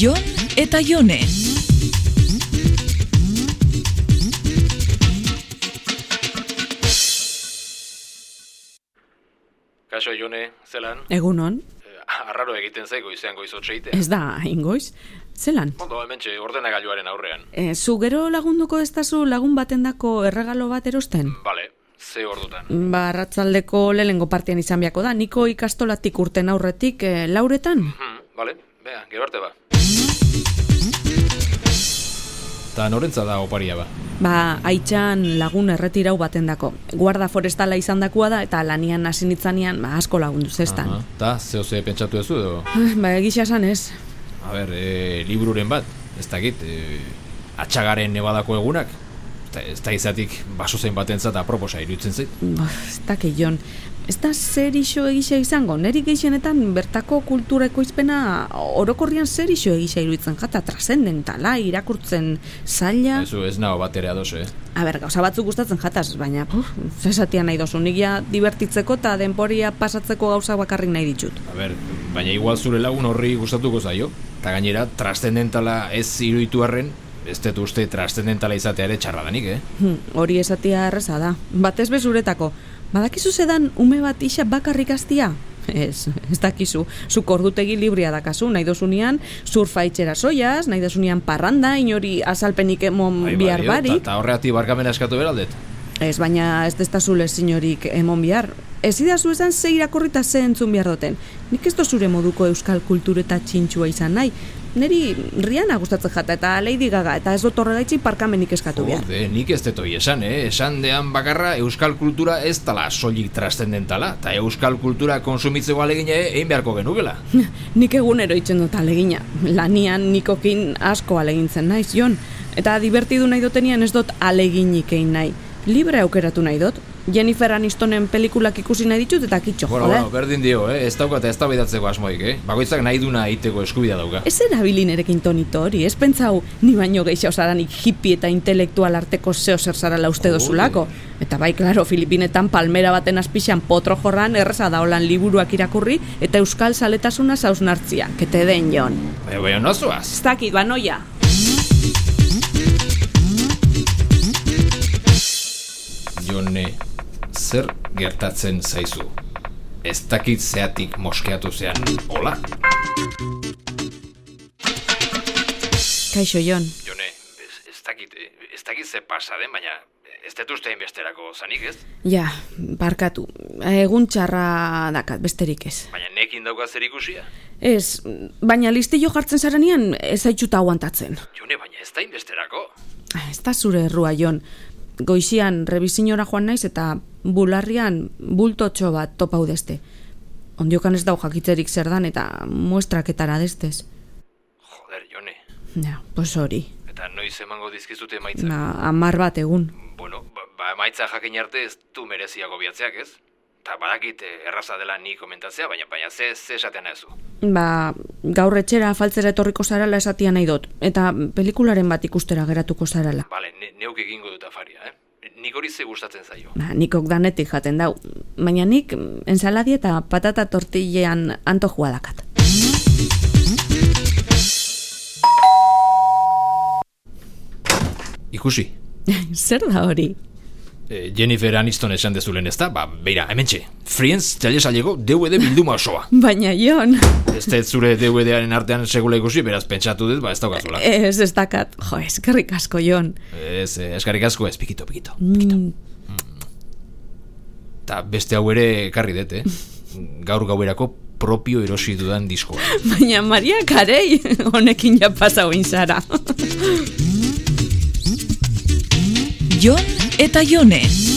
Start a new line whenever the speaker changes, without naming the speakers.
Jon eta Jone.
Kaixo, June, zelan?
Egunon,
Eh, Arraro egiten zaigo izan goizo txeitea.
ez da ingoiz, zelan.
Ondo, hemen txe, ordenagailuaren aurrean.
E, zu gero lagunduko ez tazu lagun batendako erregalo bat erosten?
Bale, ze ordutan.
Ba, arratzaldeko lehengo partian izan beako da, niko ikastolatik urten aurretik eh, lauretan?
Hmm, bale, bea, gero arte ba.
Ta norentza da oparia ba.
Ba, haitxan lagun erretirau batendako. Guarda forestala izandakoa da eta lanian hasi nitzanean ba, asko lagundu zestan.
Aha. Ta zeo ze pentsatu duzu edo.
Ah, Ba, egisa esan ez.
A ber, e, libururen bat, ez dakit, e, atxagaren nebadako egunak. Ta, ez da izatik baso zein batentzat aproposa iruditzen zait.
Ba, ez da keion. Ez da zer iso egisa izango, neri gehienetan bertako kultura ekoizpena orokorrian zer iso egisa iruditzen jata, trascendentala, irakurtzen zaila.
Ezu ez nago bat ere ados, eh.
A ber, gauza batzuk gustatzen jataz, baina puf, zer esatia nahi dozu, nik ja divertitzeko eta denporia pasatzeko gauza bakarrik nahi ditut.
A ber, baina igual zure lagun horri gustatuko zaio. Ta gainera, trascendentala ez iruditu arren, ez dut uste trascendentala izatea ere txarra danik, eh.
Hm, hori esatia erreza da, batez bezuretako. Badakizu zedan ume bat isa bakarrik aztia? Ez, ez dakizu, zuk ordutegi libria dakazu, nahi dozunean, surfa itxera soiaz, nahi dozunean parranda, inori azalpenik emon
Ai,
Mm,
bai,
bihar
badio,
barik.
Ta, ta horreati barkamena eskatu beraldet.
Ez, baina ez destazule inorik emon bihar. Ez idazu esan ze irakorrita ze entzun behar duten. Nik ez zure moduko euskal kultureta txintxua izan nahi. Neri Rihanna gustatzen jata eta Lady Gaga eta ez dut horregaitxik parkamenik eskatu behar.
Jode, nik ez detoi esan, eh? Esan dean bakarra euskal kultura ez tala soilik trascendentala, eta euskal kultura konsumitzeko alegina e, egin beharko genukela.
Nik egunero itxen dut alegina. Lanian nikokin asko alegintzen naiz, Jon. Eta divertidu nahi dutenian ez dut aleginik egin nahi. Libre aukeratu nahi dut. Jennifer Anistonen pelikulak ikusi nahi ditut eta kitxo,
bueno,
jode.
bueno, berdin dio, eh? Ez daukat ez tabaidatzeko asmoik, eh? Bakoitzak nahi duna egiteko eskubidea dauka.
Ez erabili nerekin tonito hori, ez pentsau ni baino gehiago zaranik hippie eta intelektual arteko zeo zer zarala uste
Jode.
dozulako. Eta bai, klaro, Filipinetan palmera baten azpixan potro jorran erreza daolan liburuak irakurri eta euskal saletasuna zausnartzia. Kete den, Jon.
Baina, baina, nozoaz?
Ez dakit, banoia.
Jone, zer gertatzen zaizu? Ez dakit zeatik moskeatu zean, hola?
Kaixo, Jon.
Jone, ez, ez dakit, eh, ez dakit ze pasa den, baina ez dut uste inbesterako zanik ez?
Ja, barkatu. Egun txarra dakat, besterik ez.
Baina nekin dauka zer ikusia.
Ez, baina listillo jartzen zarenean ez aitxuta aguantatzen.
Jone, baina ez da inbesterako.
Ah, Ez da zure errua, Jon. Goizian rebizinora joan naiz eta bularrian bultotxo bat topau deste. Ondiokan ez dau jakitzerik zer dan eta muestraketara destez.
Joder, Jone.
Ja, pues hori.
Eta noiz emango dizkizute emaitzak.
Ba, amar bat egun.
Bueno, ba, ba emaitza jakin arte ez du mereziago biatzeak ez? Ta badakit eh, erraza dela ni komentatzea, baina baina ze, ze esaten nahezu.
Ba, gaur etxera afaltzera etorriko zarala esatia nahi dut. Eta pelikularen bat ikustera geratuko zarala.
Bale, ne, neuk egingo dut afaria, eh? Nik hori ze gustatzen zaio.
Ba, nikok danetik jaten dau. Baina nik ensaladi eta patata tortillean antojua dakat.
Ikusi,
Zer da hori?
e, Jennifer Aniston esan dezulen ez da? Ba, beira, hementxe, Friends txailesaleko DVD bilduma osoa.
Baina Jon,
Ez dut zure DVD-aren artean sekula ikusi, beraz pentsatu dut, ba, ez daukazula.
ez ez dakat. Jo, eskerrik asko Jon.
Ez, eh, eskarrik asko ez, pikito, pikito.
Mm,
Ta beste hau ere ekarri dut, eh? Gaur gauerako propio erosi dudan diskoa.
baina Maria Karei, honekin ja pasau inzara.
Jon eta Jone.